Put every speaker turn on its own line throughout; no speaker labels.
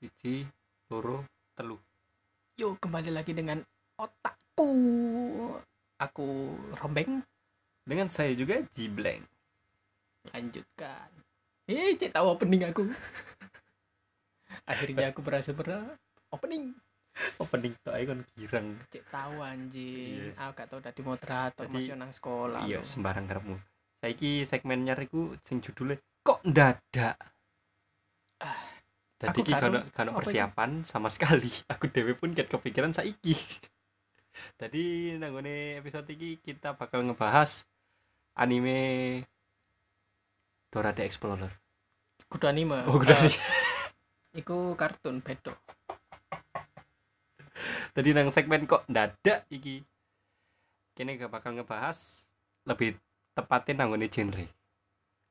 siji loro telu
Yuk kembali lagi dengan otakku. Aku rombeng,
dengan saya juga Jibleng
lanjutkan. Eh, cek tahu opening aku. Akhirnya aku berhasil ber opening.
opening tok ae kon girang
Cek tahu anjing.
Yes.
Aku gak tahu tadi moderator
Jadi-
masih nang sekolah.
iya sembarang karepmu saiki segmen nyariku sing judulnya kok ndadak
Ah,
Tadi
aku
ki
karo-
kano, kano
apa
persiapan sama sekali. Aku dewe pun ket kepikiran saiki. Tadi nanggone episode ini kita bakal ngebahas anime Dora the Explorer.
Kudu anime.
Oh, udah.
Eh, iku kartun bedo.
Tadi nang segmen kok dadak iki. Kini gak bakal ngebahas lebih tepatnya nanggone genre.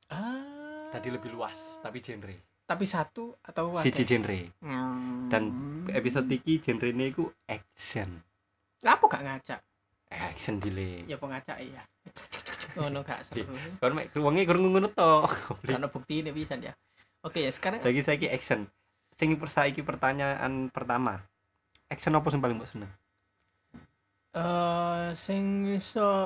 Ah.
Tadi lebih luas tapi genre.
Tapi satu atau
Siji
akeh?
genre.
Hmm.
Dan Episode iki genre ini ku action.
Lah, apa gak ngacak?
Eh, Action delay.
Ya apa ngacak iya. Ngono gak seru.
Kon mek wonge kurang ngono to.
Karena bukti ini bisa ya. Oke, ya sekarang
Lagi saya ki action. Sing persaiki pertanyaan pertama. Action apa sing paling mbok seneng?
eh sing iso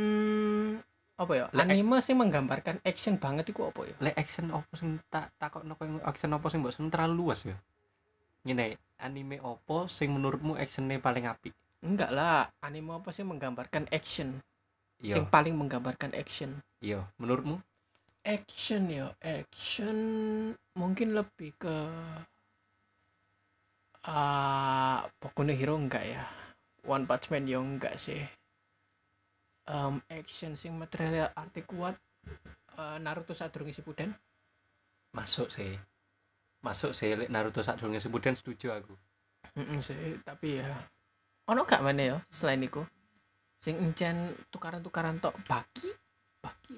hmm, apa ya?
Lek-
anime sing menggambarkan action banget iku apa ya?
Lek action apa sing tak takokno koyo action apa sing mbok seneng terlalu luas ya. Ngene, anime apa sing menurutmu actionnya paling apik?
Enggak lah, anime apa sih menggambarkan action? Sing
Iya,
paling menggambarkan action.
iya. Menurutmu?
Action ya, action mungkin lebih ke ah pokoknya hero enggak ya. One Punch Man ya enggak sih. Em, action sing material arti kuat eh, Naruto saat durung isi puden
Masuk sih. Masuk sih lek Naruto sadurunge Shippuden setuju aku.
Mm sih, tapi ya ono gak mana ya selain iku sing encen tukaran-tukaran tok baki baki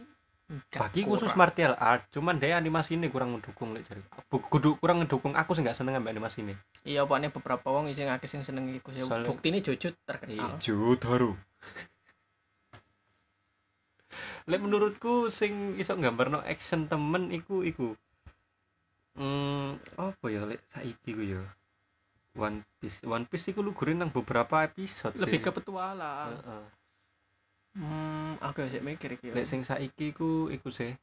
enggak
Bagi khusus
kurang.
martial art, cuman dia animasi ini kurang mendukung lek jari. Bu- Kudu kurang ngedukung aku sih nggak seneng ambek animasi ini.
iya pokoknya beberapa wong sing akeh sing seneng iku sih
Soalnya- Iya.
bukti ini jujur terkenal
Ijo daru. Lek menurutku sing iso nggambarno action temen iku iku. Hmm, apa ya lek saiki ku ya. One Piece, One Piece iku lugurin nang beberapa episode.
lebih
sih.
ke petualang
Heeh.
hmm aku sih mikir iki
Lek sing saiki ku iku sih.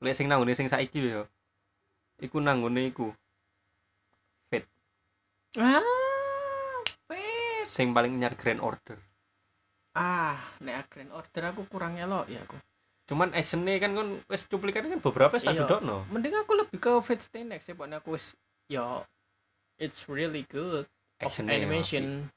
Lek sing nanggone sing saiki ya. Iku nanggone iku
ah wes.
sing paling nyar Grand Order.
ah nek grand order aku kurang elok ya aku
Cuman actionnya kan kan wis cuplikan kan beberapa wis tak
Iya.
bedokno.
mending aku lebih ke Fate Stay Next sih pokoknya aku wis yo it's really good of
Actionnya ya,
animation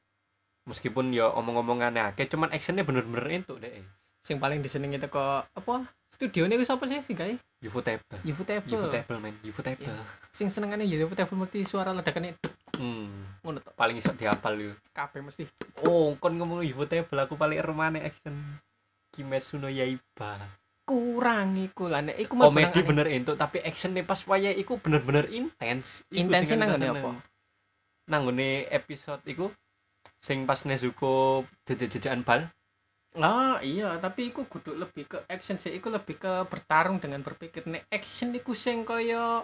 meskipun ya omong-omongannya akeh cuman actionnya bener-bener entuk deh
sing paling disenengi teko apa studio ini wis apa sih sih guys
Ufotable
Ufotable
Ufotable men Ufotable
sing senengane ya Ufotable mesti suara ledakannya duk
hmm.
ngono to
paling iso dihafal yo
kabeh mesti
oh kon ngomong Ufotable aku paling remane action Kimetsu no Yaiba
kurang iku lah nek iku mah
komedi
benang-benang.
bener entuk tapi actionnya pas waya iku bener-bener intens Iku
Intense
sing aku
nang ngene
seneng.
apa?
nang ngene episode iku sing pas Nezuko jejak-jejakan bal
lah iya tapi iku kudu lebih ke action sih iku lebih ke bertarung dengan berpikir nek action iku sing kaya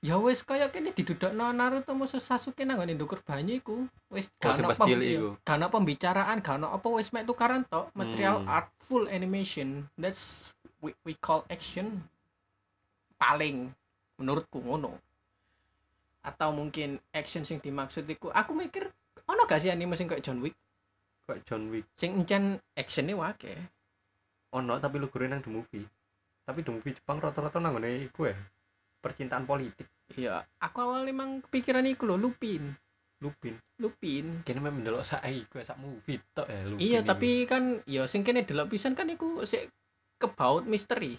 ya wis kaya kene didudukno Naruto musuh Sasuke nang ngene ndukur banyu iku wis
Oh, sing
ana
pas
pem-
cilik
iya,
iku.
gak ana pembicaraan gak ana apa wis mek tukaran tok material
Hmm.
artful animation that's we, we call action paling menurutku ngono atau mungkin action sing dimaksud iku aku mikir ono gak sih anime sing kayak John Wick
kok John Wick
sing encen actionnya wake
ono tapi lu nang the movie tapi the movie Jepang rata-rata nang ngene iku ya percintaan politik
Iya, aku awal emang kepikiran iku lho, Lupin.
Lupin
Lupin.
kene memang ndelok sak iku sak movie tok ya lu.
iya, tapi kan ya sing kene delok pisan kan iku sik kebaut misteri.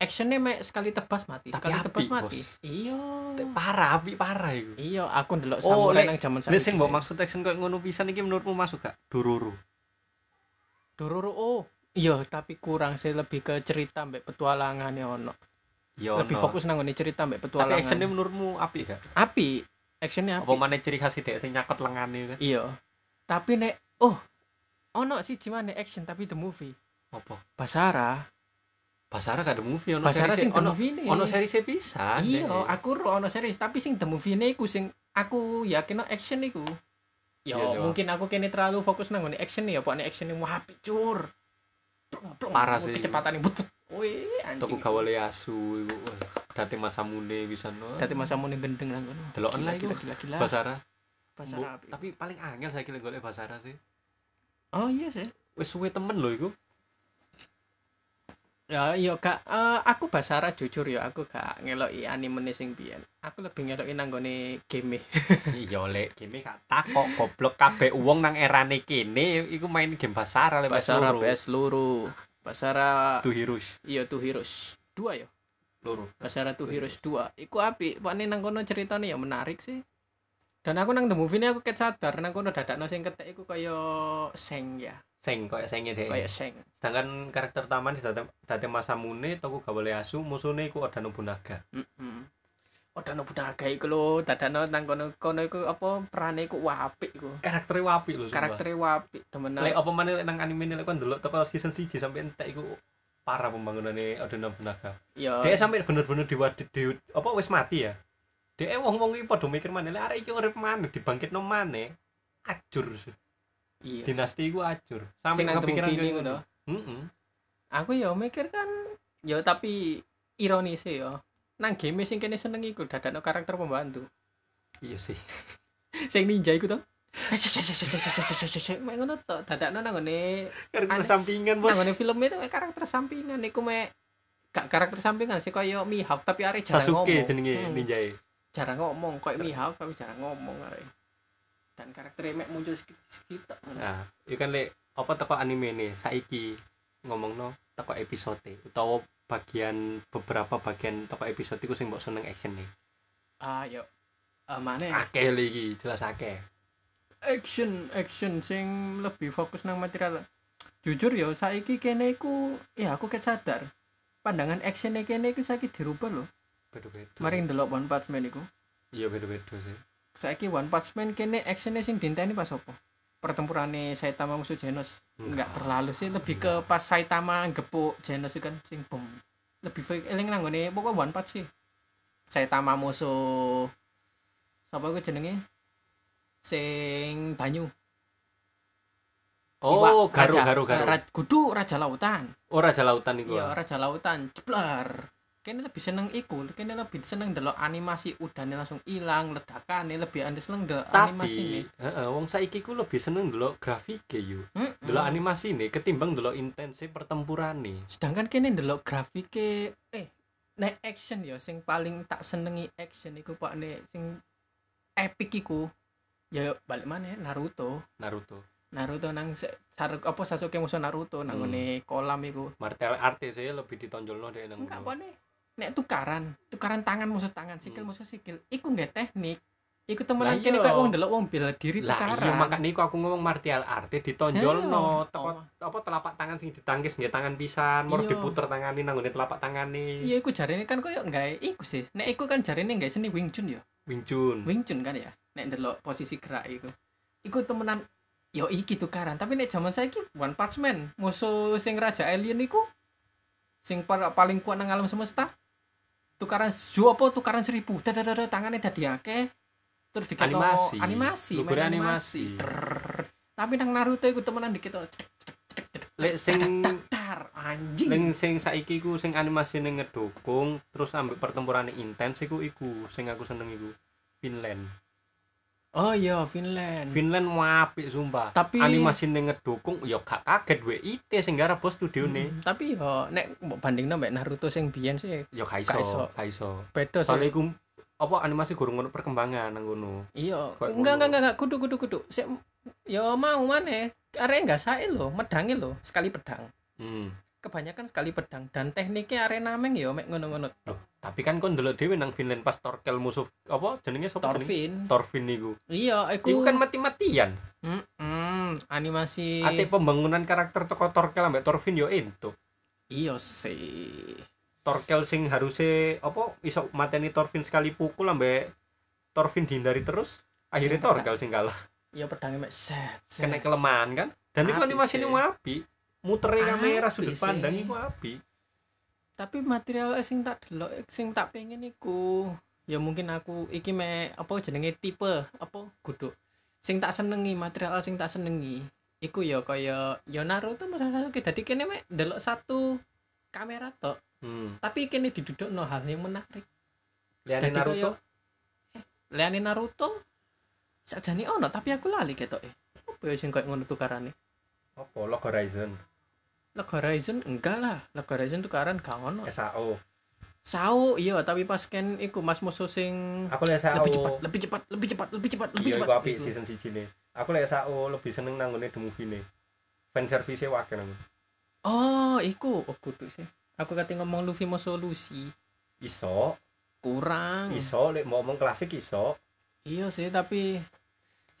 Actionnya mek sekali tebas mati,
Tapi
sekali
apik,
tebas mati.
Bos.
Iya.
parah api parah iku.
Iya, aku ndelok
Oh,
samurai
lek-
nang jaman
Lha sing
saiki
mbok
sih.
maksud action koyo ngono pisan iki menurutmu masuk gak? Dororo.
Dororo. Oh, iya, tapi kurang sih lebih ke cerita mbek petualangan ya ono.
Yo.
Lebih fokus nang ngene cerita mbek
Iya, Tapi
petualangan.
actionnya menurutmu api gak?
api. Actionnya
Apa
api.
mana ciri khas dhek sing nyakot lengane itu?
Iya. Tapi nek oh, ono sih gimana action tapi the movie.
Apa?
Basara
Basara gak ada movie ono
Basara
seri
sing the
ono
movie ini.
ono seri pisan.
Iya,
Dek.
aku ro ono series tapi sing the movie ini iku sing aku yakin no action iku. Yo,
Iya, toh.
mungkin aku kene terlalu fokus nang ngone action ya, pokoknya action ini mau hapi cur. Plung, plung,
Parah
plung,
sih.
Kecepatan ini. but, but. Wih, anjing.
Toku Gawale Asu iku. wah, Date Masamune bisa no.
Dati masa muni bendeng nang ngono.
Deloken
Gila,
lah iku.
gila, gila, gila.
Basara.
Basara
Mbok-
api.
Tapi paling angel saya kira golek Basara sih.
Oh iya sih.
Wis suwe temen lho iku.
Ya iya kak, Eh, aku Basara jujur ya, aku gak ngeloki anime sing biyen. Aku lebih ngeloki nang gone game. e.
Iya lek game gak takok goblok kabeh wong nang erane kene iku main game Basara lek
Basara PS loro. Basara
Tuh Hirush.
iya Two Heroes 2 ya.
Loro.
Basara Two Heroes 2. Iku apik, pakne nang kono ceritane ya menarik sih. Dan aku nang the movie ini aku ket sadar nang kono dadakno sing ketek iku kaya seng ya,
Seng koyo senge dhek.
kaya seng.
Sedangkan karakter taman di Date Date Masamune Toku Gawale Asu musuhne iku Oda Nobunaga.
Heeh. Odano Oh, budaga iku lho, dadakno nang kono kono iku apa perane iku wah apik iku.
Karaktere wapi lho. sumpah.
Karaktere wah apik temenan.
Lek apa maneh lek nang anime ini lek kon delok teko season 1 sampai entek iku parah pembangunannya Oda Nobunaga.
Ya.
Dia sampai bener-bener diwadid di apa wis mati ya. Dia wong-wong iki padha mikir maneh lek arek iki urip maneh dibangkitno maneh ajur.
Iya.
Dinasti iku ajur. Sampai
Sing nang
kepikiran
The Movie
kayak
ini
ngono.
ngono.
Heeh.
Aku ya mikir kan ya tapi ironis sih ya. Nang game sing kene seneng iku dadakno karakter pembantu.
Iya sih.
Sing ninja iku to. Mek ngono to, dadakno nang ngene
Karena
Aneh.
sampingan
nang
bos.
ngene film itu mek karakter sampingan iku mek gak karakter sampingan sih koyo Mihawk tapi arek jarang
Sasuke
ngomong.
jenenge
Hmm,
ninjae.
Jarang ngomong koyo Mihawk tapi jarang ngomong arek. Dan karakternya mek muncul sedikit
Nah, iki kan lek apa teko anime ini saiki ngomongno teko episode utawa bagian beberapa bagian teko episode iku sing mbok seneng action nih.
Ah, yo. Eh, mana?
Akeh lho iki, jelas akeh.
action action sing lebih fokus nang material jujur ya saiki kene iku ya aku ket sadar pandangan action kene iku saiki dirubah lho
Beda-beda.
mari ndelok One Punch Man iku
Iya beda-beda sih.
saiki One Punch Man kene actionnya sing dinteni pas apa pertempurannya Saitama musuh Genos enggak terlalu sih lebih ke pas Saitama gepuk Genos itu kan sing bom lebih fake eling nang ngene pokoknya One Punch sih Saitama musuh sapa iku jenenge sing banyu
Oh,
Iwak, raja-
garu-garu garu.
Ra, kudu raja lautan.
Oh, raja lautan iku.
Iya, raja lautan. Jeblar. Kene lebih seneng iku, kene lebih seneng delok animasi udane langsung ilang, ledakane lebih ande seneng delok animasi ini.
tapi heeh wong saiki ku lebih seneng ndelok grafike yo
Hmm,
ndelok
hmm.
animasi nih ketimbang ndelok e intensi pertempurane
Sedangkan kene ndelok grafike eh nek action ya sing paling tak senengi action iku pak nek sing epic iku. Ya balik mana Naruto.
Naruto
Naruto nang se- Sar- apa Sasuke musuh Naruto nang
Hmm.
ngene kolam iku.
martial art saya e lebih ditonjolno deh nang
enggak
ngono.
apa nih nek tukaran tukaran tangan musuh tangan sikil
Hmm.
musuh sikil iku nggak teknik iku
Lah
temenan kene
iya.
kok wong delok wong bela diri
lah
tukaran
iya makanya iku aku ngomong martial art ditonjolno
Iya.
teko
Oh.
apa telapak tangan sing ditangkis nggih tangan pisan mor
Iya.
diputer tangane nang ngone telapak tangane
iya iku jarine kan koyo nggak iku sih nek iku kan jarine nggak seni Wing Chun ya
Wing Chun
Wing Chun kan ya nek delok posisi gerak iku iku temenan yo iki tukaran tapi nek zaman saiki One Punch Man musuh sing raja alien iku sing par- paling kuat nang alam semesta tukaran ju apa tukaran seribu dadadada tangannya dadi akeh terus dikit
Animasi.
animasi
Lugure
main
animasi.
Drrrr. tapi nang Naruto iku temenan dikit oh, cek, cek, cek, cek,
lek sing
tak, tar, anjing
Ning sing saiki ku sing animasi ning ngedukung terus ambek pertempuran intens iku iku sing aku seneng iku Finland.
oh iya Finland
Finland mau apik sumpah.
tapi
animasi ning ngedukung ya gak kaget WIT sing gara bos studio ne
Hmm, tapi yo nek mbok bandingno mek Naruto sing biyen sih
ya gak
Gak iso.
iso gak iso
beda sih
soalnya iku apa animasi gurung ngono perkembangan nang ngono
Iya,
Kayak
enggak enggak
ngono.
enggak enggak. kudu kudu kudu. Sik ya mau maneh. Arek enggak sae lho, medange lho, sekali pedang.
hmm.
Kebanyakan sekali pedang dan tekniknya arek nameng ya mek ngono-ngono.
tapi kan kon ndelok dhewe nang Finland pas torkel musuh apa jenenge sapa jenenge
Thorfinn.
Torfin iku
Iya,
iku
aku
kan mati-matian
Mm-mm, animasi
ate pembangunan karakter toko Torkel ambek Torfin yo entuk
iya sih.
Torkel sing harusnya apa iso mateni Torfin sekali pukul ambek Torfin dihindari terus akhirnya
Sing
Torkel sing kalah
Ya pedangnya mek set. set,
kena
set.
kelemahan kan dan itu
Apik
animasi ini
sih.
wapi muternya kamera
Apik
sudut
sih.
pandang itu api
tapi material sing tak delok sing tak pengen iku ya mungkin aku iki me apa jenenge tipe apa guduk sing tak senengi material sing tak senengi iku ya kaya ya Naruto Mas Sasuke dadi kene mek delok satu kamera tok
Hmm.
tapi kene didudukno hal yang menarik
Liane
Jadi
Naruto.
kaya- eh, liane Naruto sajane ono tapi aku lali ketoke. Apa ya sing koyo ngono tukarane?
Apa Log Horizon?
Log Horizon enggak lah. Log Horizon tukaran gak ono.
SAO.
Sao iya tapi pas kan iku Mas Musuh sing
Aku lihat SAO.
lebih cepat, lebih cepat, lebih cepat, lebih cepat, lebih
Iya,
cepat.
iku apik
Iku.
season 1 ne. Aku lihat SAO lebih seneng nanggone The Movie ne. Fan service-e wakil nang.
Oh, iku oh kudu sih. Aku kate ngomong Luffy Musuh Lucy.
Iso,
Kurang.
iso lek mau ngomong klasik iso.
Iya sih tapi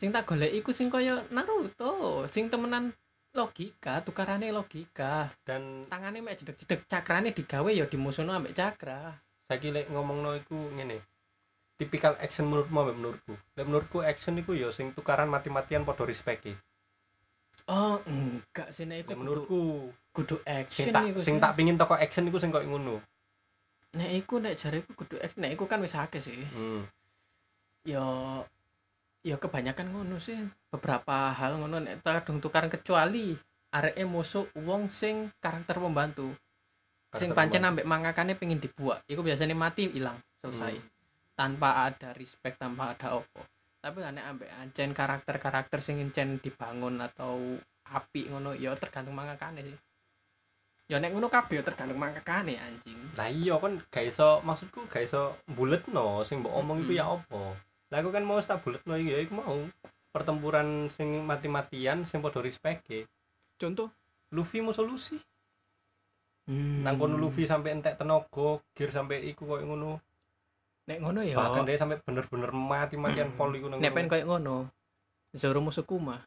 sing tak golek iku sing koyo Naruto, sing temenan logika, tukarane logika.
Dan
tangane mek jedeg-jedeg cakrane digawe ya dimusuhno ambek cakra
saiki lek ngomongno iku ngene. Tipikal action menurutmu apa menurutku? Lek menurutku action iku ya sing tukaran mati-matian padha respect-e.
oh enggak sih nek iku
Lek
kudu,
menurutku
kudu action
sing tak
iku
sing
sih.
tak pingin toko action iku sing koyo ngono.
nek iku nek jareku kudu action nek iku kan wis akeh sih
Hmm.
ya ya kebanyakan ngono sih beberapa hal ngono nek kadung tukaran kecuali areke musuh wong sing karakter pembantu sing pancen ambek mangakane pengen dibuat iku biasanya mati hilang selesai
Hmm.
tanpa ada respect tanpa ada opo tapi aneh ambek ancen karakter-karakter sing encen dibangun atau api ngono ya tergantung mangakane sih ya nek ngono kabeh ya tergantung mangakane anjing
Lah iya kan gak iso maksudku gak iso buletno sing mbok omong iku
Mm-mm.
ya apa. Lah aku kan mau tak buletno iki ya iku mau pertempuran sing mati-matian sing padha respecte.
contoh
Luffy mau solusi. Nang kono
Mm.
Luffy sampe entek tenaga, gear sampe iku koyo ngono.
nek ngono ya
Bahkan dia sampe bener-bener mati-matian
Mm-mm.
pol iku nang
Mm. nek pengen
kono.
koyo ngono Zoro musuh Kuma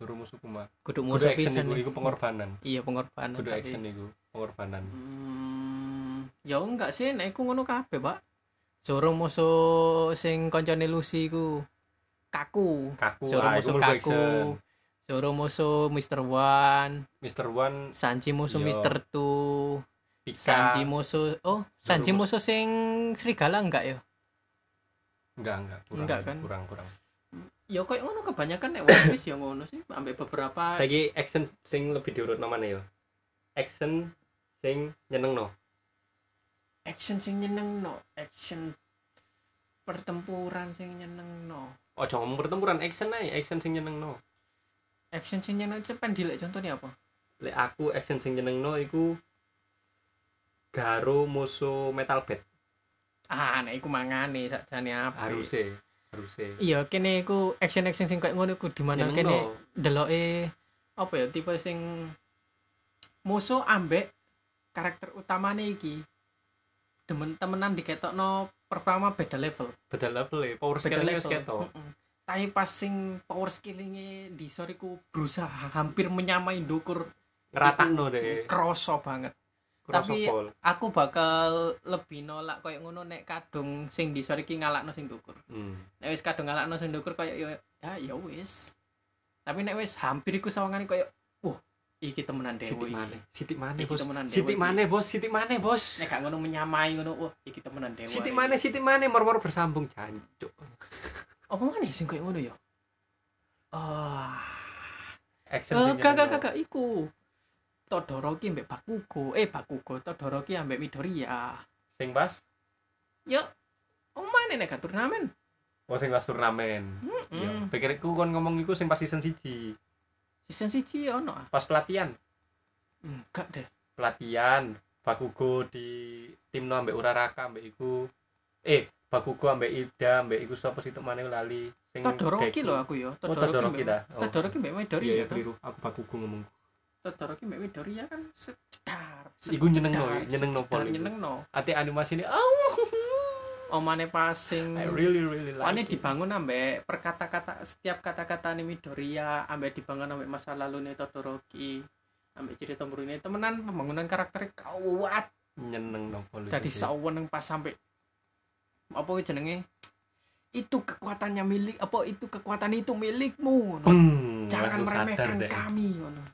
Suruh musuh kuma.
kudu
Kudu
musuh
action
pisan
iku
nih.
iku pengorbanan.
iya pengorbanan
Kudu
tapi-
action iku pengorbanan.
Hmm, ya enggak sih, nek iku ngono kabeh, Pak. Zoro musuh sing koncone Lucy iku kaku.
Kaku,
Zoro
ah, iku
musuh
mlebu
kaku.
action.
Zoro musuh Mr. One,
Mr. One,
Sanji musuh
Iya.
Mr. Two, Sanji
Pika,
musuh oh, Sanji
mus-
musuh sing serigala enggak ya?
enggak enggak kurang
Enggak kan?
kurang kurang.
Ya koyo ngono kebanyakan nek One Piece ya ngono sih, ambek beberapa
Saiki action sing lebih diurut mana ya? Action sing nyeneng no.
action sing nyeneng no, action pertempuran sing nyeneng no.
Ojo ngomong pertempuran action ae, action sing nyeneng no.
Action sing nyeneng itu pendilek contohnya apa?
Lek aku action sing nyeneng no iku Garo musuh Metal Bat
ah nek iku mangane sakjane apa
haruse haruse.
iya kene iku action action sing koyo ngono iku di mana
Nyeneng
kene
no.
deloke apa ya tipe sing musuh ambek karakter utamane iki demen temenan diketokno pertama beda level
Beda level e, power
beda
skill-e wis
level
ketok.
Mm-mm. tapi pas sing power skillinge di soriku berusaha hampir menyamai dukur
Ngeratakno deh.
kroso banget Tapi-
Tapi
aku bakal lebih nolak koyo ngono nek kadung sing di soriki ngalakno sing dukur
hmm.
nek wis kadung ngalakno sing ndukur koyo ya ya ya wis. Tapi nek wis hampir iku sawangane koyo wah iki temenan dewe.
Sitik maneh, sitik maneh
Iki
bos.
temenan dewe
Sitik
iki.
maneh bos, sitik maneh bos.
Nek gak ngono menyamai ngono wah iki temenan dewe.
Sitik maneh, sitik maneh mor-mor bersambung jancuk.
Apa maneh sing koyo ngono ya? Ah,
Action
Eh,
sing
gak gak
nyeneng
gak
no.
gak iku. Todoroki ambek Bakugo, eh Bakugo Todoroki ambek Midoriya.
Sing pas,
Yo, oh mana nek gak turnamen?
oh sing pas turnamen. Iya,
Mm.
pikirku kon ngomong iku sing pas season 1,
Season 1 ono ah.
pas pelatihan.
Enggak Hmm, deh.
Pelatihan Bakugo di timno ambek Uraraka ambek iku. Eh, Bakugo ambek Ida ambek iku sapa sih temane lali sing
Todoroki
Deku.
lho aku yo.
Hmm, Oh,
Todoroki
Todoroki
ambek-
dah. Oh.
Todoroki ya, kan? mbak Midoriya
Iya, iya,
toh.
keliru. Aku Bakugo ngomong.
Todoroki Mbak Midoriya kan sedar.
Iku iya, nyeneng no, nyeneng no pol.
Nyeneng no.
Ate animasi ini, oh,
Omane passing.
I really really like.
Omane
it.
dibangun ambek perkata-kata setiap kata-kata nih Midoriya, ambek dibangun ambek masa lalu nih Todoroki, ambek cerita murine temenan pembangunan karakter kuat
nyeneng no pol.
dari saweneng pas sampai apa jenenge itu kekuatannya milik apa itu kekuatan itu milikmu ngono.
Beng,
jangan
langsung sadar
meremehkan
deh.
kami ngono.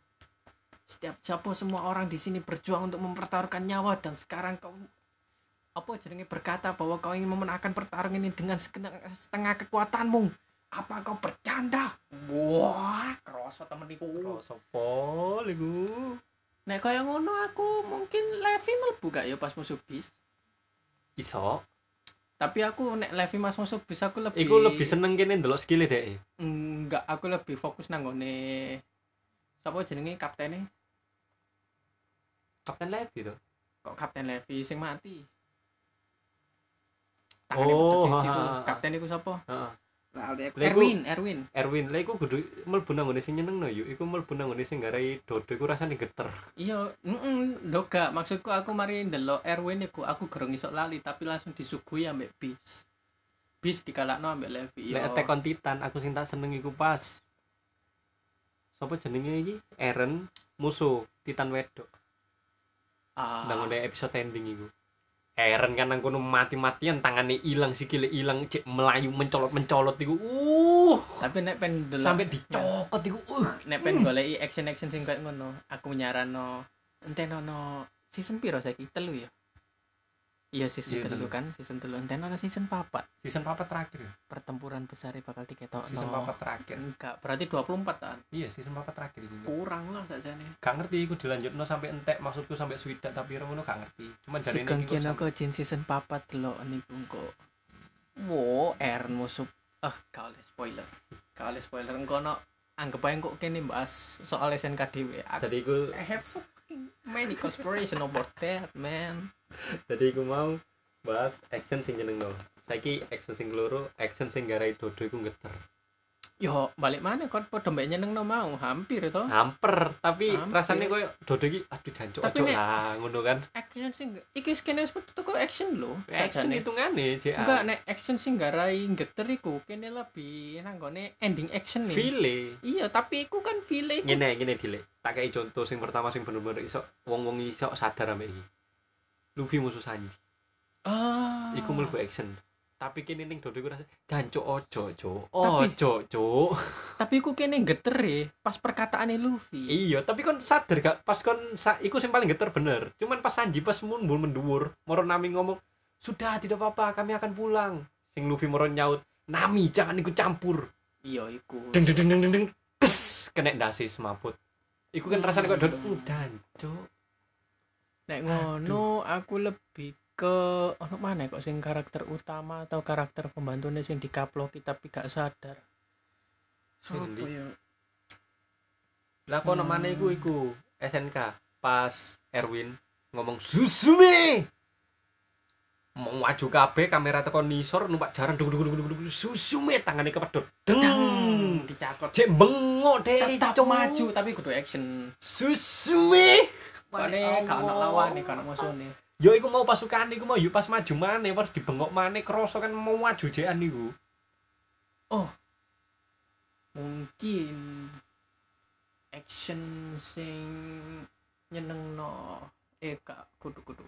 setiap siapa semua orang di sini berjuang untuk mempertaruhkan nyawa dan sekarang kau apa jenenge berkata bahwa kau ingin memenangkan pertarungan ini dengan segenap- setengah kekuatanmu apa kau bercanda wah kerasa temen iku
sopol iku
nek kaya ngono aku mungkin Levi mlebu gak ya pas musuh bis
iso
tapi aku nek Levi mas musuh bis aku lebih
iku lebih seneng kene ndelok e, skillnya deh
enggak aku lebih fokus nang ngone sapa jenenge kaptennya
kapten lab gitu
kok kapten Levi sing mati
Oh,
putus siji
ha,
ku.
ha, ha.
kapten iku sapa
Heeh. Lah, iku-
Erwin Erwin
Erwin lah iku kudu mlebu nang ngene sing nyeneng no yuk iku mlebu nang ngene sing garai dodo iku rasane geter
iya mm doga maksudku aku mari ndelok Erwin iku aku gerung isok lali tapi langsung disuguhi ambek bis bis dikalakno ambek Levi iya.
Lek Attack on Titan aku sing tak seneng iku pas. Sopo jenenge iki? Eren musuh Titan wedok.
Ah,
Nang ngene episode ending iku. Eren kan nang kono mati-matian tangane ilang sikile ilang cek melayu mencolot-mencolot iku. Uh,
tapi nek pen ndelok
sampai dicokot iku. Uh,
nek pen goleki action-action sing koyo ngono aku nyarano enteno no season piro saiki telu ya iya season
Iya, telu.
telu kan season telu enteno no season papat
season papa terakhir. ya?
pertempuran besar ya bakal diketok
Season papa terakhir.
enggak berarti 24 kan
Iya, season papa terakhir iki.
kurang lah saja nih
Gak ngerti iku dilanjutno sampai entek maksudku sampai swidak tapi ora ngono gak ngerti. Cuman dari
Sugeng
iki kok
kena
sampe-
kok jin season papat delok niku kok. Wo, Eren musuh. Ah, gak oleh spoiler. Gak oleh spoiler engko no anggap ae kok kene bahas soal SNKDW. Aku
Jadi iku
I have so fucking many conspiration about that, man.
jadi aku mau bahas action sing jeneng no saiki action sing loro action sing garai dodo iku ngeter
Yo, balik mana kon padha mbek nyenengno mau hampir to.
hamper tapi
Hampir.
rasanya koyo dodo iki aduh jancuk
Tapi
aja
nek-
lah ngono kan
Action sing iki skene wis metu kok action lho.
action
sajane.
hitungane JA
Enggak, nek action sing garai geter iku kene lebih nanggone ending action nih.
file
Iya, tapi iku kan file iku
ngene ngene dile tak kei contoh sing pertama sing bener-bener iso wong-wong iso sadar ambek iki Luffy musuh Sanji
Ah.
iku mlebu action tapi kene ning dodo iku rasanya jancuk ojo cuk
Tapi-
ojo cuk
Tapi iku kene geter e pas perkataane Luffy.
Iya, tapi kon sadar gak pas kon sa, iku sing paling geter bener. Cuman pas Sanji pas mundur mendur, Moro Nami ngomong, "Sudah, tidak apa-apa, kami akan pulang." Sing Luffy Moro nyaut, "Nami, jangan ikut campur."
Iya iku.
Deng deng deng deng deng. deng. Tes, kena dasi semaput. Iku kan rasanya kok dodot
Hmm.
udan, cuk.
Nek ngono aku lebih ke ono mana kok sing karakter utama atau karakter pembantunya sing dikaploki tapi gak sadar. Sopo
Sing di-
ya?
Lah kok
Hmm.
mana iku iku SNK pas Erwin ngomong Susume. Mau maju kabeh kamera tekan nisor numpak jaran duk duk duk duk duk Susume tangane kepedot. Deng.
Dang, dicakot.
Cek bengok deh
Tetap
cok.
maju tapi kudu action.
Susumi ya
Pane gak ono lawan nih, gak ono musuhne.
Yo iku mau pasukan iku mau yo pas maju maneh pas dibengok maneh kroso kan mau maju jekan niku
Mungkin action sing nyenengno eh gak kudu kudu.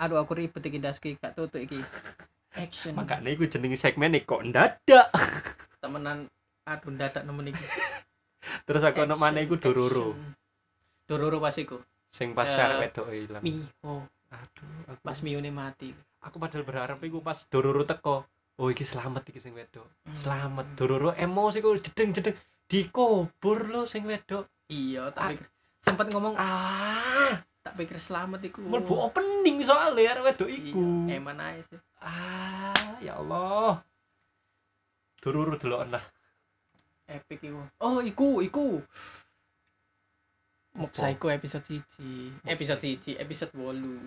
Aduh aku ribet iki daski gak tutuk iki. Action.
makanya iku jenenge segmen kok ndadak
temenan aduh dadak nemen iki
terus aku ono
Action,
maneh iku Dororo
action. Dororo pas iku
sing pas
Eh,
uh, wedoke ilang
Miho
aduh aku,
pas Miyone mati
aku padahal berharap iku pas Dororo teko oh iki selamat iki sing wedok
Hmm.
selamat Dororo emosi ku jedeng jedeng dikubur lo sing wedok
iya tak pikir sempat ngomong
ah
tak pikir selamat iku
mlebu opening soalnya arek wedok iku
iya eman ae sih
Ah, ya Allah. Dururu delok nah.
epic iku oh iku iku
Apa?
Mob Psycho episode siji episode siji episode wolu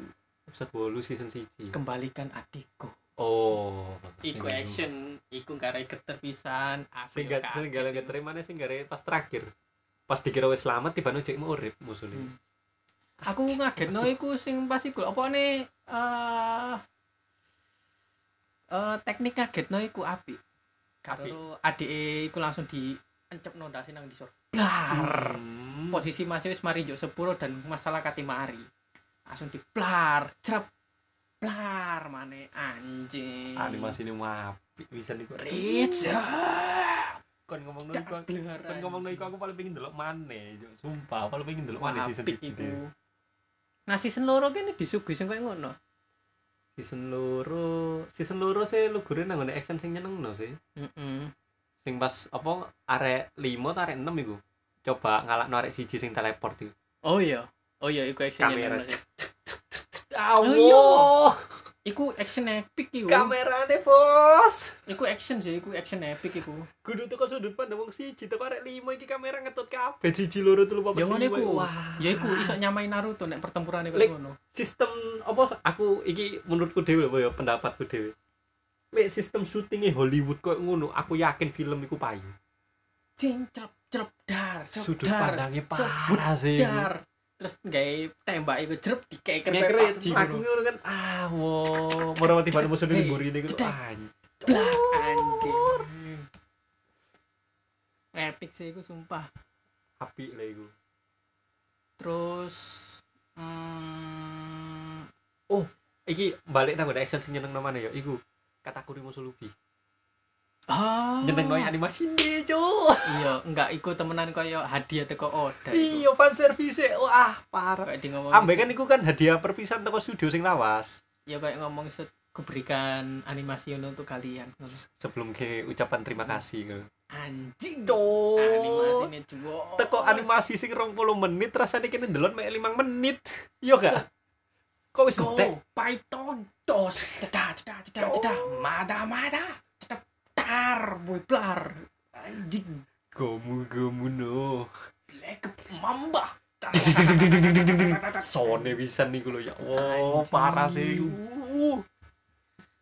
Episode 8 season 1.
kembalikan adikku
Oh.
iku
sing-
action iku karek geter pisan aku
Sing
yo
gak sing
kaget
gak
iku.
keterima sing gak pas terakhir. Pas dikira wis selamat tiba nang jekmu urip musuhnya.
Hmm. aku ngagetno iku sing pas iku apa nih eh eh teknik ngagetno iku api karo adike iku langsung diencepno ndase nang ngisor blar
Hmm.
posisi Mas wis mari njuk sepuro dan masalah kati mari langsung diplar jrep blar mane anjing
Ah, Animasi ini apik bisa niku.
Rizal
kon ngomong no
ya. Gak
iku aku-
beneran
kon ngomong no
sih.
iku aku paling pengen delok maneh Cuk. sumpah paling pengen delok
Wah,
maneh season
apik
1
iku. Nah, season loro kene disuguhi sing koyo ngono.
season loro season loro sih lu gure nang ngone action sing nyeneng no sih
Heeh.
sing pas apa arek 5 ta arek 6 iku coba ngalakno arek siji sing teleport iku
Oh iya. Oh iya iku action
Kamera.
enak.
Awo,
Iku action epic iku.
kamerane bos.
Iku action sih, iku action epic iku.
Kudu tuh sudut pandang wong siji teko arek 5 iki kamera ngetut kabeh siji loro telu papat.
Ya ngono
lima.
iku.
Wah.
Ya iku iso nyamain Naruto nek pertempuran iku
Lek.
ngono.
sistem apa aku iki menurutku dhewe apa ya pendapatku dhewe. Lek sistem syutingnya Hollywood kok ngono, aku yakin film iku payu.
Cing celep celep dar, celep
Sudut
dar,
pandangnya
celep
parah sih.
dar. Terus gawe tembak iku jerep dikek
Kayak keren, aku ngono kan ah wo, merah tiba musuh
Hey,
ini buri ini gitu
cetek. Blak anjir. Epic sih iku sumpah.
api lah iku.
Terus hmm,
Iki balik nang ada action sing nyeneng namanya ya, iku Katakuri Musulubi.
ah,
Nyeneng noy animasi ini, cuk.
Iya, enggak iku temenan koyo hadiah teko Oda. iku.
Iya, fan service wah parah.
Kayak di ngomong.
Ambek kan iku kan hadiah perpisahan teko studio sing lawas.
ya kayak ngomong set kuberikan animasi ini untuk kalian.
Sebelum ke ucapan terima kasih ngono.
Anjing.
Cuk.
Animasi ini cuy.
Teko animasi sing 20 menit rasane kene ndelok mek 5 menit. Iya gak? Kok wis
Go
entek?
Python dos cedah cedah cedah cedah mada mada cedah tar boy blar anjing
Gomu gomu no.
black mamba
Sone bisa nih gue ya. Wow,
Anjing.
parah sih.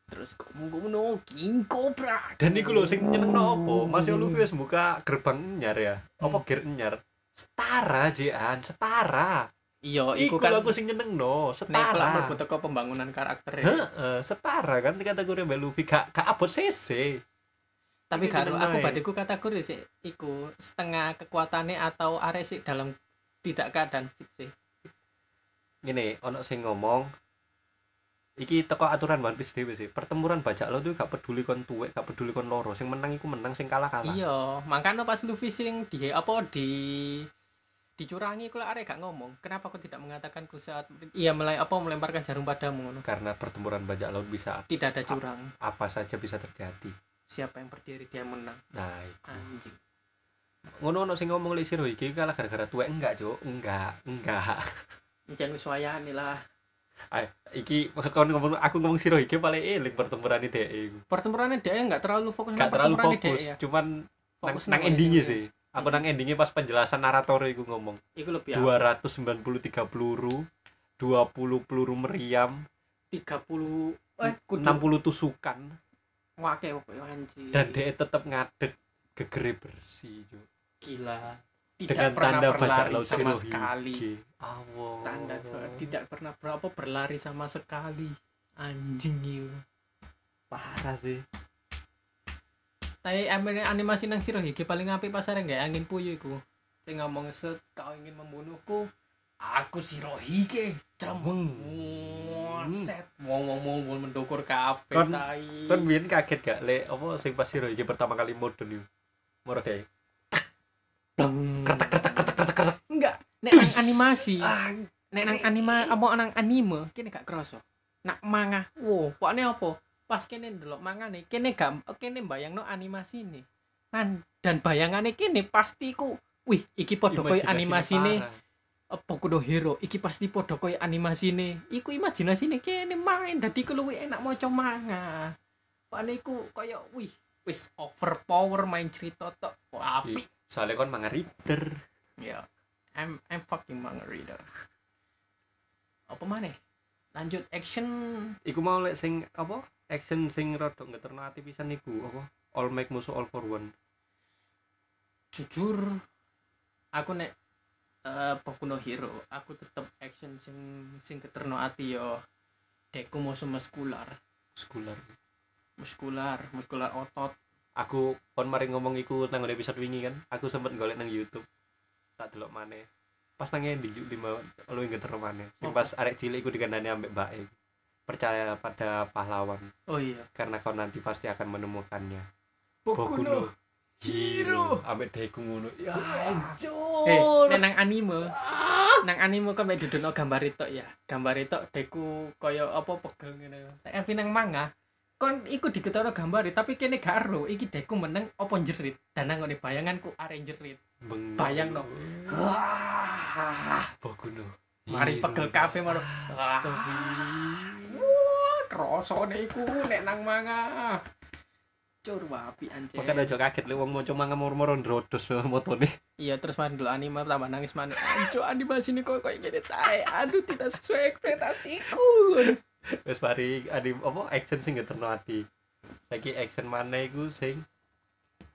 terus kamu kamu no king cobra Hmm.
Dan iku lho sing nyeneng no apa? Mas yo Luffy wis buka gerbang nyar ya. Apa gear nyar? Setara jean, setara.
iya
Iku
iku
kan
kan
aku sing nyeneng no,
nek lah
setara.
mlebu teko pembangunan karakter e.
Heeh, setara kan kategori Mbak Luffy gak gak abot CC.
tapi
Ini
karo
bener
aku
wae.
badiku kategori sih iku setengah kekuatannya atau arek sih dalam tidak keadaan fit sih
Ngene, ono sing ngomong Iki teko aturan One Piece dhewe sih. Pertempuran bajak laut itu gak peduli kon tuwek, gak peduli kon loro. Sing menang iku menang, sing kalah kalah.
iya makanya pas Luffy sing di apa di dicurangi kula arek gak ngomong kenapa aku tidak mengatakan ku saat iya mulai apa melemparkan jarum padamu ngono.
Karena pertempuran bajak laut bisa
tidak ada curang
apa saja bisa terjadi.
siapa yang berdiri dia menang
Nah, iku.
anjing
ngono ono sing ngomong lek siro iki kalah gara-gara tuwek enggak, Cuk. Enggak, enggak.
jangan wis wayahane lah
Iki kon ngomong aku ngomong siro iki paling eling pertempuran dhek iku.
pertempurannya dia nggak terlalu fokus
Gak
nang
terlalu
pertempurannya
fokus,
dia ya.
cuman nang,
Fokus
nang
nang
endingnya
endingnya.
sih. Aku nang endingnya pas penjelasan narator iku ngomong
Iku lebih
293 peluru, 20 peluru meriam,
tiga puluh eh kudu
60 tusukan
wake pokoknya ya, anjing
dan dhek e tetep ngadeg gegere bersih, Cuk.
gila
Dengan
tidak pernah
tanda bajak
berlari
laut
sama
Shirohige.
sekali
Allah.
tanda doa tidak pernah berapa berlari sama sekali anjing iya. itu
parah sih.
tapi amene animasi nang Shirohige paling apik pas arek nggak angin puyuh iku sing ngomong set kau ingin membunuhku aku Shirohige ceremeng
Hmm.
set wong wong wong wong mendukur kabeh
Kon-
tai
Kan biyen kaget gak le apa sing pas Hiro iki pertama kali modern yo. Moro kae.
kretek kretek kretek kretek kretek enggak nek
Tus.
nang Eh, animasi
Ah,
nek nang anime apa nang anime kene gak kroso nak manga wo pokoknya apa pas kene ndelok manga nih kene gak kene bayangno animasi nih kan dan bayangannya kene pasti ku wih iki podo koyo
imajinasinya
animasi nih
parah.
Boku no Eh, Hero iki pasti podo koyo animasi nih iku imajinasi nih kene main dadi ku luwih enak maca manga pokoknya iku koyo wih wis overpower main cerita tok Wah, apik
Soalnya Iya. kon manga reader.
Ya. I'm I'm fucking manga reader. Apa maneh? Lanjut action
Iku mau lek sing apa? Action sing rodok ngeterno ati pisan iku apa? All make musuh all for one.
jujur aku nek eh Boku no Hero, aku tetep action sing sing keterno ati yo. Deku musuh muskular,
Sekular.
muskular, muskular otot.
Aku kon mari ngomong iku nang nggon episode wingi kan. Aku sempet golek nang YouTube. Tak delok maneh. Pas nang endi juk lima lu ngeterno maneh. Sing
Apa?
pas arek cilik iku dikandani ambek mbake. Percaya pada pahlawan
Oh iya,
karena kau nanti pasti akan menemukannya.
Boku, no hero
ambek daegu ngono ya
eh
hancur
nek nang anime nang anime kan mek didono gambar itu ya gambar itu deku koyo apa pegel ngene nek tapi nang manga kon iku diketono gambar tapi kene gak ero iki deku meneng apa jerit dan nang ngone bayanganku arek jerit
Bengong.
bayang no.
Bogono.
mari
Hero. Ah.
pegel kabeh maru
Astaga.
wah krasane iku nek nang manga cur wapi anjir
Makanya aja kaget lek wong maca manga moro-moro ndrodos motone.
Iya terus main dulu anime tambah nangis mana Anco animasi ini kok kayak gini tay Aduh tidak sesuai ekspektasiku
Wis mari anim apa action sing geterno ati. Saiki action mana iku sing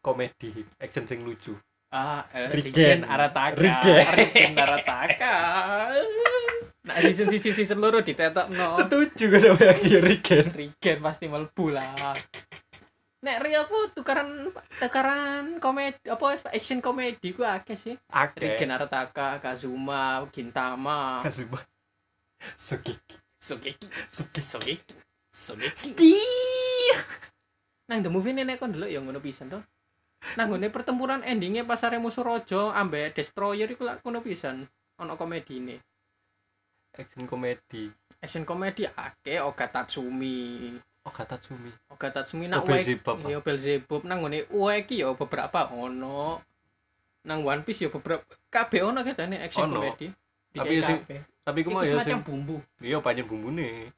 komedi, action sing lucu.
Ah, eh,
Rigen.
Rigen Arataka
Rigen.
Rigen Arataka Nah season season season loro ditetok no
Setuju kan sama yang kiri kan.
Rigen pasti melbu lah Nek Rio apa tukaran tukaran komedi apa action komedi gua akeh sih
Akeh.
Rigen Arataka Kazuma Gintama
Kasubah. Sugeki.
Sugeki
Sugeki.
Sugeki Sugeki
Stih.
nang the movie nenek kon dulu yang ngono pisan to nang ngone pertempuran endingnya pasare musuh rojo ambe destroyer iku lak ngono pisan ono komedi ini
Action komedi.
action komedi ake oga tatsumi
Oh kata Tsumi.
oga tatsumi nak
Oh,
wae
Beelzebub, Pak.
iya Beelzebub nang ngone wae iki ya beberapa ono nang One Piece ya beberapa kabeh ono ketane action
Ono.
komedi
Tapi
Dikai
sing-
kabeh.
Tapi
iku
aku mau ya
semacam
sing
bumbu
iya banyak bumbune.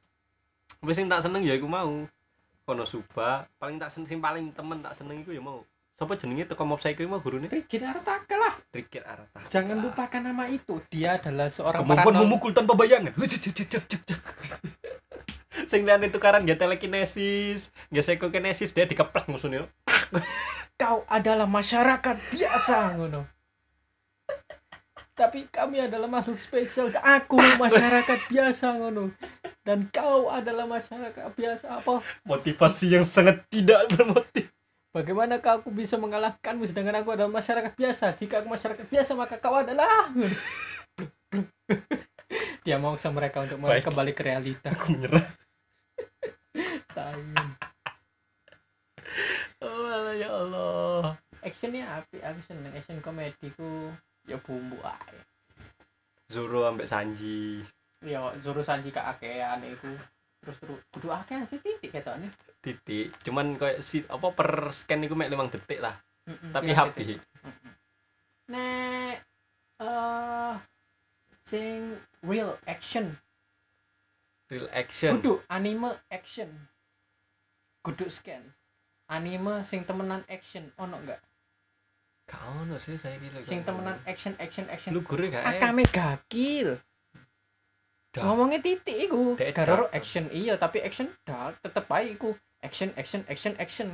Wis sing tak seneng ya iku mau. Konosuba, paling tak seneng sing paling temen tak seneng iku ya mau. Sapa jenenge teko mob psycho iku mau gurune
Regen Artaka lah
Rikir Arata.
jangan lupakan nama itu dia adalah seorang
Kemampuan
paranormal-
memukul tanpa bayangan. Hujuh, hujuh, hujuh, hujuh. Sing liyane tukaran nggak telekinesis, nggak psikokinesis dia dikeplak musuhnya.
kau adalah masyarakat biasa ngono tapi kami adalah makhluk spesial aku masyarakat biasa ngono dan kau adalah masyarakat biasa apa
Motivasi yang sangat tidak bermotif.
bagaimana kau aku bisa mengalahkanmu sedangkan aku adalah masyarakat biasa jika aku masyarakat biasa maka kau adalah dia mau sama mereka untuk mulai
Baik.
kembali ke realita
Aku menyerah.
Tai.
Oh, Allah, ya Allah.
actionnya api aku seneng action komediku ya bumbu ae
Zoro ambek Sanji.
ya Zoro Sanji keakean iku terus terus kudu akeh sih titik ketokne
Titik. Cuman kayak si apa per scan iku mek 5 detik lah.
Mm-mm,
Tapi
pirang
HP.
titik. Mm-mm. nek eh sing real action
Real action.
kudu anime action kudu scan anime sing temenan action ono enggak
Gak ono sih saya kira.
sing temenan action action action
Lu gure gak? eh?
Akame gakil
Dark.
ngomongnya titik iku
Dek,
Garoro
dark.
action iya tapi action dark tetep ae iku action action action action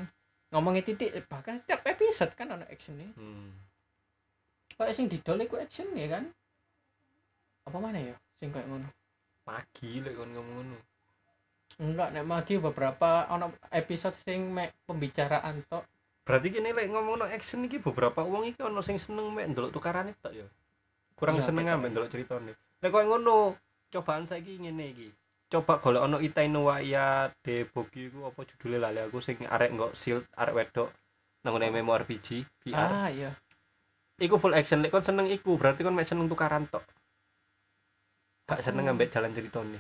ngomongnya titik bahkan setiap episode kan ono actionnya
Hmm.
kok sing didol iku action ya kan apa mana ya sing kayak ngono
Pagi lek kon ngomong ngono.
enggak nek magi beberapa ono episode sing mek pembicaraan tok
Berarti kene lek ngomongno action iki beberapa wong iki ono sing seneng mek ndelok tukarane tok ya. Kurang
Iya,
seneng
ketok.
ambek ndelok critane. Lek koyo ngono, cobaan saiki ngene iki. Coba golek ono Itai no Waiya de Bogi iku apa judule lali aku sing arek nggo shield arek wedok nang ngene MMORPG VR.
ah iya
Iku full action lek kon seneng iku berarti kon mek seneng tukaran tok. Gak seneng
Aku-
ambek jalan ceritane.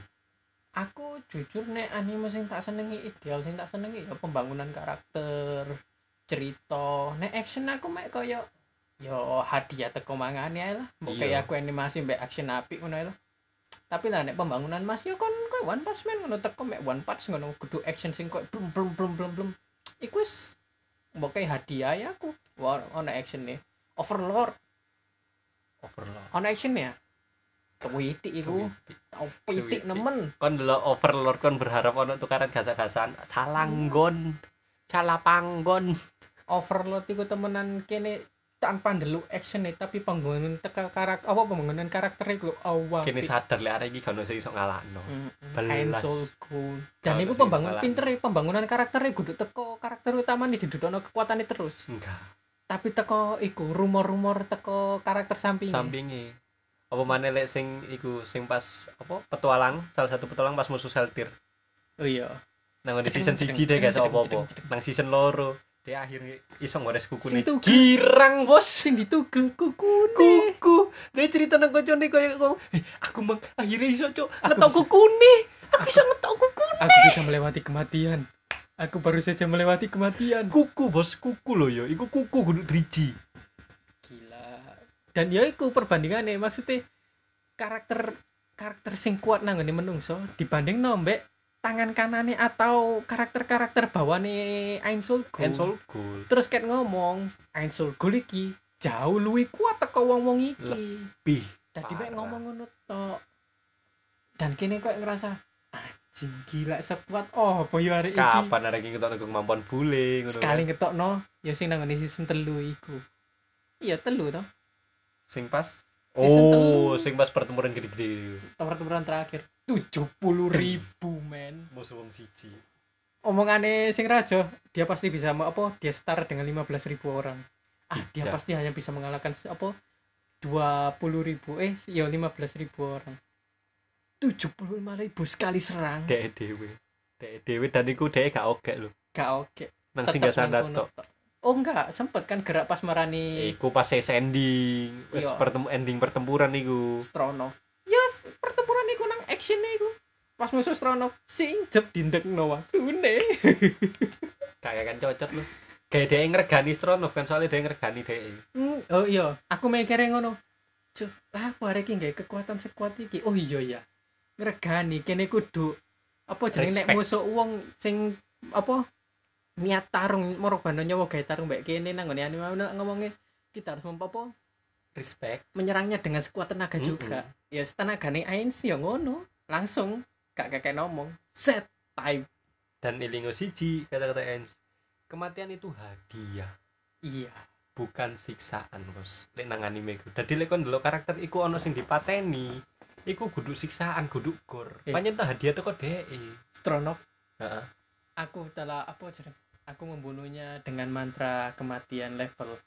aku jujur nek anime sing tak senengi ideal sing tak senengi ya pembangunan karakter cerita nek action aku mek koyo yo hadiah teko mangane ae lah Mbok
Iya.
kayak aku animasi mbek action apik ngono ae lah tapi lah nek pembangunan mas yo kon koyo one punch man ngono teko mek one punch ngono kudu action sing koyo blum blum blum blum blum iku wis mbok kayak hadiah ya aku wah ono action nih overlord
Overlord.
ono action ya Tweetik iku, tau
Tweetik.
pitik nemen.
kon delok overlord kon berharap ono tukaran gasa-gasan
Hmm.
salanggon salah panggon
overload iku temenan kene tanpa ndelok action e, tapi pembangunan teka karakter apa pembangunan karakter iku awal
kene sadar lek arek iki gak ono sing iso ngalahno
I'm
Belas.
so cool. Dan
Kalau
iku
sing
pembangun
malah-
pinter e, pembangunan karakter kudu teko karakter utama nih didudono kekuatannya terus.
enggak
Tapi teko iku rumor-rumor teko karakter sampingnya.
sampinge apa maneh lek sing iku sing pas apa petualang salah satu petualang pas musuh seltir
Oh iya.
nang di season 1 deh guys apa-apa nang season loro dia akhirnya iso ngores
Sing
kukune
tugel.
girang bos
sing ditugel kukune
kuku dia cerita nang koncone kaya ngomong "Eh, aku mang akhirnya iso cok
Aku
ngetok
bisa-
kukune aku iso ngetok kukune
aku bisa melewati kematian aku baru saja melewati kematian
kuku bos kuku loh yo iku kuku kudu driji
gila dan ya iku perbandingannya maksudnya karakter karakter sing kuat nang ngene menungso dibanding nombek tangan kanane atau karakter-karakter bawane Ainsul Gold.
Ensol gol
terus ket ngomong Ainsul Gold iki jauh luwih kuat teko wong-wong iki
bih
dadi mek
parah.
ngomong ngono tok dan kini kok ngerasa anjing gila sekuat oh apa yo arek iki
kapan arek iki ngetok kemampuan bule ngono kan?
sekali ngetok no ya sing nang ngene season telu iku iya telu toh
sing pas
Season
oh
telu.
sing pas pertemuan gede-gede
tawar-tawaran terakhir tujuh puluh ribu men
musuh wong siji
omongannya sing raja dia pasti bisa ma- apa dia setara dengan 15.000 ribu orang ah dia
Tidak.
pasti hanya bisa mengalahkan se- apa dua puluh ribu eh ya 15.000 ribu orang tujuh puluh ribu sekali serang
dek dewe dek dewe dan iku dek gak oke lho
gak oke
nang
Tetep
singgah sana
nang kono
tok
tok. oh enggak sempet kan gerak pas marani
iku pas saya ending wis
Iya.
pertemu ending pertempuran iku
Stronov yes Ya, pertempuran iku nang action iku pas musuh Stronov sing jeb dindek no waktune
kayak kan cocot lho kayak dek ngregani Stronov kan soalnya dek ngregani dek
Hmm, oh iya, aku mikirnya ngono. Cuk, lah aku arek iki nggawe kekuatan sekuat iki. Oh iya ya. Ngregani kene kudu apa jenenge nek
Respect.
musuh wong sing apa niat tarung merobano nyawa gawe tarung mbek kene nang ngene anime ngono ngomongnya kita harus mem- apa
respect
menyerangnya dengan sekuat tenaga
Mm-mm.
juga. Ya tenagane Ains ya ngono, langsung gak kakek ngomong. Set time.
dan ilingo siji kata-kata Ens kematian itu hadiah
Iya.
bukan siksaan bos lek nang anime iku dadi lek kon ndelok karakter iku ono sing dipateni iku kudu siksaan kudu gor
Eh.
pancen tuh hadiah teko e. dek
Stronov
heeh
aku telah apa jeneng aku membunuhnya dengan mantra kematian level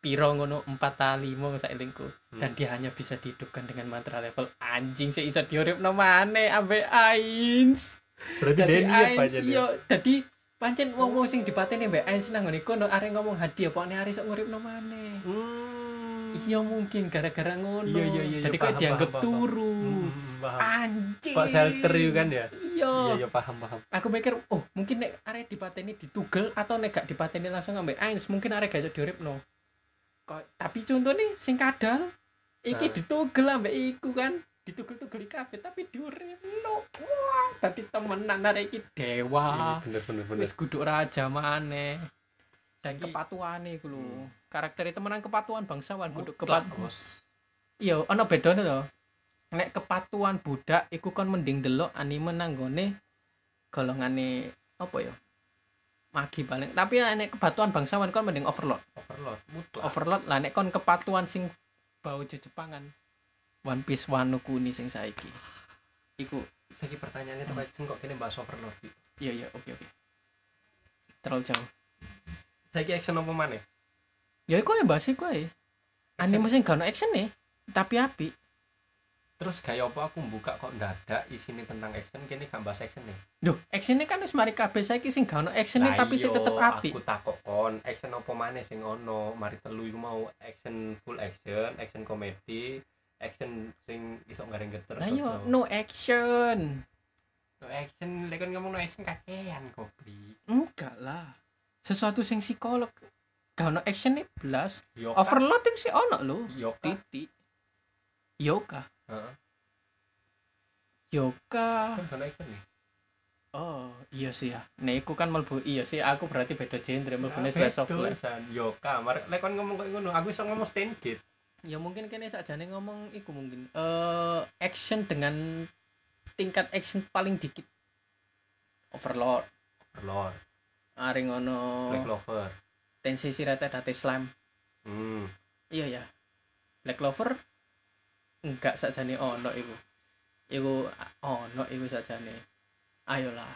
piro ngono 4 ta 5 saelingku
Hmm.
dan dia hanya bisa dihidupkan dengan mantra level anjing sih iso diuripno maneh ambek Ains
berarti
Dadi
dek iya
Ains
pancen ya.
yo dadi pancen wong-wong sing dipateni mbek Ains nang ngene kono arek ngomong hadiah pokoknya arek iso nguripno maneh
Hmm.
iya mungkin gara-gara ngono
Iya, iya, iya,
jadi
iya,
kok
paham,
dianggap
paham, paham.
turu
Hmm, paham
anjing
Pak Shelter itu kan ya
iya
iya iya paham paham
aku mikir oh mungkin nek arek dipateni ditugel atau nek gak dipateni langsung ngambil Ains mungkin arek gak iso diuripno kok tapi contohnya sing kadal iki
Nah.
ditugel ambek iku kan ditugel-tugel di kafe tapi diuripno wah tadi temenan arek iki
Iya,
dewa
bener bener bener
wis guduk raja maneh dan
Iki-
kepatuhane iku lho
Hmm.
karaktere temenan kepatuhan bangsawan guduk
Mutlak,
kepatuhan
bos
iya ana bedane to nek kepatuhan budak iku kon mending delok anime nanggone golongane apa ya magi paling tapi ya nek kepatuhan bangsawan kon mending overlord
overlord mutlak
overlord lah nek kon kepatuhan sing bau jejepangan One Piece Wano Kuni sing saiki iku
saiki pertanyaannya tuh kayak kok kene bahas overlord iki
iya iya oke oke terlalu jauh
saiki action apa maneh
ya iku ya bahas iku ae anime sing gak ono action nih tapi api
terus kayak apa aku buka kok dadak isine tentang action kene gak bahas action ya? nih
Duh, actionnya kan wis mari kabeh saiki sing gak ono actionnya
Lah
tapi sing
iya,
tetep api.
aku takok kon action apa maneh sing ono mari telu iku mau action full action action komedi action sing iso garing geter
Lah
terus
yo
no.
no action.
no action lek kon ngomong no action kakean goblok
Enggak lah. Sesuatu sing psikolog. Gak ono action nih blas.
yo kak.
Overloading sih ono lho.
yo kak.
Titik. Yoga.
Heeh.
Yoga.
Kan gak ono action nih
Oh, iya sih ya. Nek iku kan melbu iya sih aku berarti beda genre
Ah,
melbune slice of life.
yo kak mari lek kon ngomong kok ngono aku iso ngomong stand gate
Ya mungkin kene sakjane ngomong iku mungkin eh action dengan tingkat action paling dikit. Overload.
overlord
Are ngono
black clover
Tensei Shirata Date Slime.
hmm
iya ya Black Clover enggak sajane ono iku iku ono iku sajane ayolah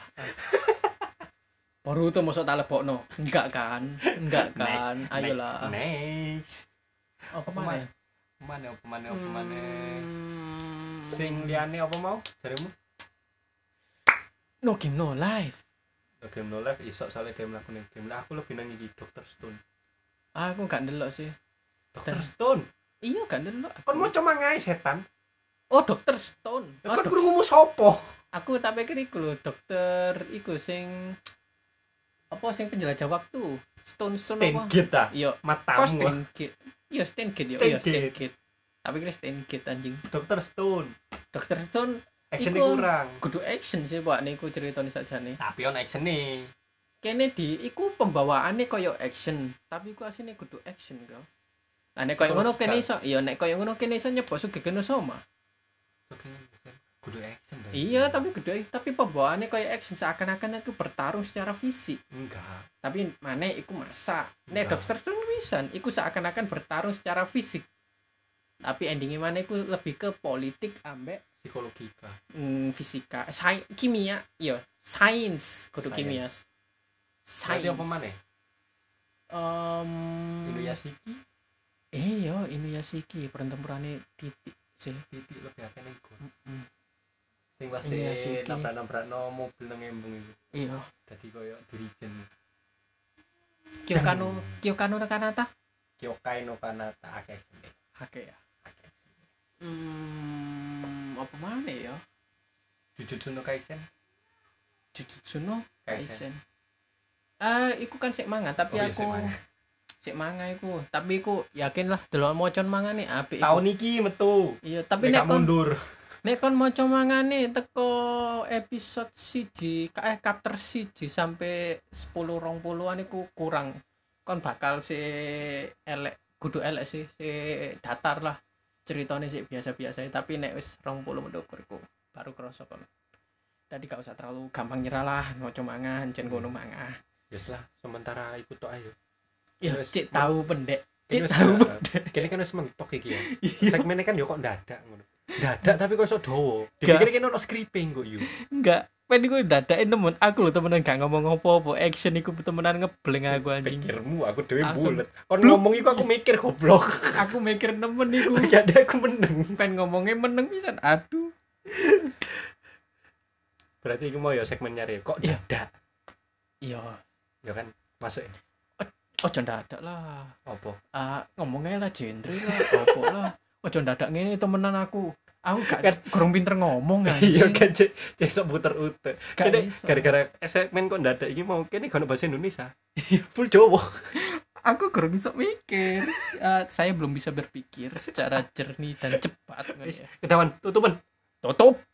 Boruto mosok tak lebokno enggak kan enggak kan
Next,
ayolah
next
apa
Apa
mana Hmm.
Apa maneh apa maneh apa maneh sing liyane apa mau jarimu
no game no life
game no life iso soalnya game laku ning game lah aku lebih nang iki Dr. Stone
aku gak ndelok sih
Dr.
Dan-
Stone
iya gak ndelok
kon mau cuma ngai setan
oh dokter Stone
Ya
oh,
kon
dok-
krungu mu sapa
aku tak pikir iku lho dokter iku sing apa sing penjelajah waktu Stone Stone apa
Stingit ah
iya kok
matamu
Stingate iya Stingate ya iya
Stingate.
Stingate tapi kira Stingate anjing
Dr. Stone
dokter Stone
action
Iku-
kurang
kudu action sih pak niku ceritanya saja nih
tapi on action nih
kene di iku pembawaannya koyo action tapi ku asine kudu action kau nah nek koyo
Suka.
ngono kene iso iya nek koyo ngono kene iso nyebok sugegeno sama
oke kudu action dong.
iya tapi kudu tapi pembawaannya koyo action seakan-akan aku bertarung secara fisik
enggak
tapi mana iku masa nek
Nah.
dokter Stone wisan iku seakan-akan bertarung secara fisik tapi endingnya mana iku lebih ke politik ambek
psikologika
mm, fisika Sai- kimia iya sains kudu
Science.
kimia sains Hmm.
Berarti apa maneh?
Em,
Inuyashiki
eh yo Inuyashiki pertempurannya titik sih
titik lebih akeh ning gon
Mm-mm.
sing pas
Inuyashiki.
dhek nabrak-nabrakno mobil nang embung itu
iya
dadi koyo dirijen
Kyokano Kyokano Kanata
Kyokai no Kanata akeh action deh.
oke ya
Akeh action.
hmm apa mana ya
Jujutsu no Kaisen
Jujutsu no Kaisen. Ah, iku kan sik manga, tapi
Oh iya,
aku
sik manga.
sik manga iku, tapi iku yakin lah delok mocon manga nih apik. iku.
tahun iki metu
Iya, tapi
Nek gak
nek kon
mundur
nek kon maca manga nih teko episode siji, ka- eh chapter siji sampai 10 20-an iku kurang. Kon bakal si elek, kudu elek sih, si datar lah. Ceritanya sih biasa-biasa, tapi nek wis 20 mendukur iku baru kerasa kon. Tadi gak usah terlalu gampang nyerah lah, maca manga, jen ngono
Hmm.
manga.
Yes lah, sementara ikut tok ayo.
Ya,
Terus,
cek
men-
tahu pendek.
Ini
Cek
wis-
tahu Iya.
eh,
pendek.
Kene kan wis mentok iki ya. Segmennya kan yo kok dadak ngono. Dadak tapi kok iso dawa.
Gak.
Dipikir kene ono skriping kok yo.
Enggak. Pen gue dadain nemen aku loh temenan gak ngomong apa-apa. Action iku temenan ngebleng aku Ya, anjing.
Pikirmu aku dhewe
Langsung.
bulet. Kon
Bluk.
ngomong iku aku mikir goblok.
aku mikir nemen iku.
Ya ada aku meneng.
Pen ngomongnya meneng pisan. Aduh.
Berarti iku mau yo segmen nyari kok
Iya.
dadak.
Iya,
Ya kan masuk ya?
ojo dadak lah.
opo?
Ah, ngomongnya lah genre lah, apa lah. Ojo dadak ngene temenan aku. Aku
Kan-
gak kurang pinter ngomong
Iya
anjing.
kan cek cek sok puter ute.
Gak
Kene
iso.
gara-gara segmen kok dadak iki mau kene gak ono bahasa Indonesia.
Iya.
Full Jawa.
aku kurang bisa mikir. Ah, saya belum bisa berpikir secara jernih dan cepat.
Wis, Kedawan tutupan.
Tutup.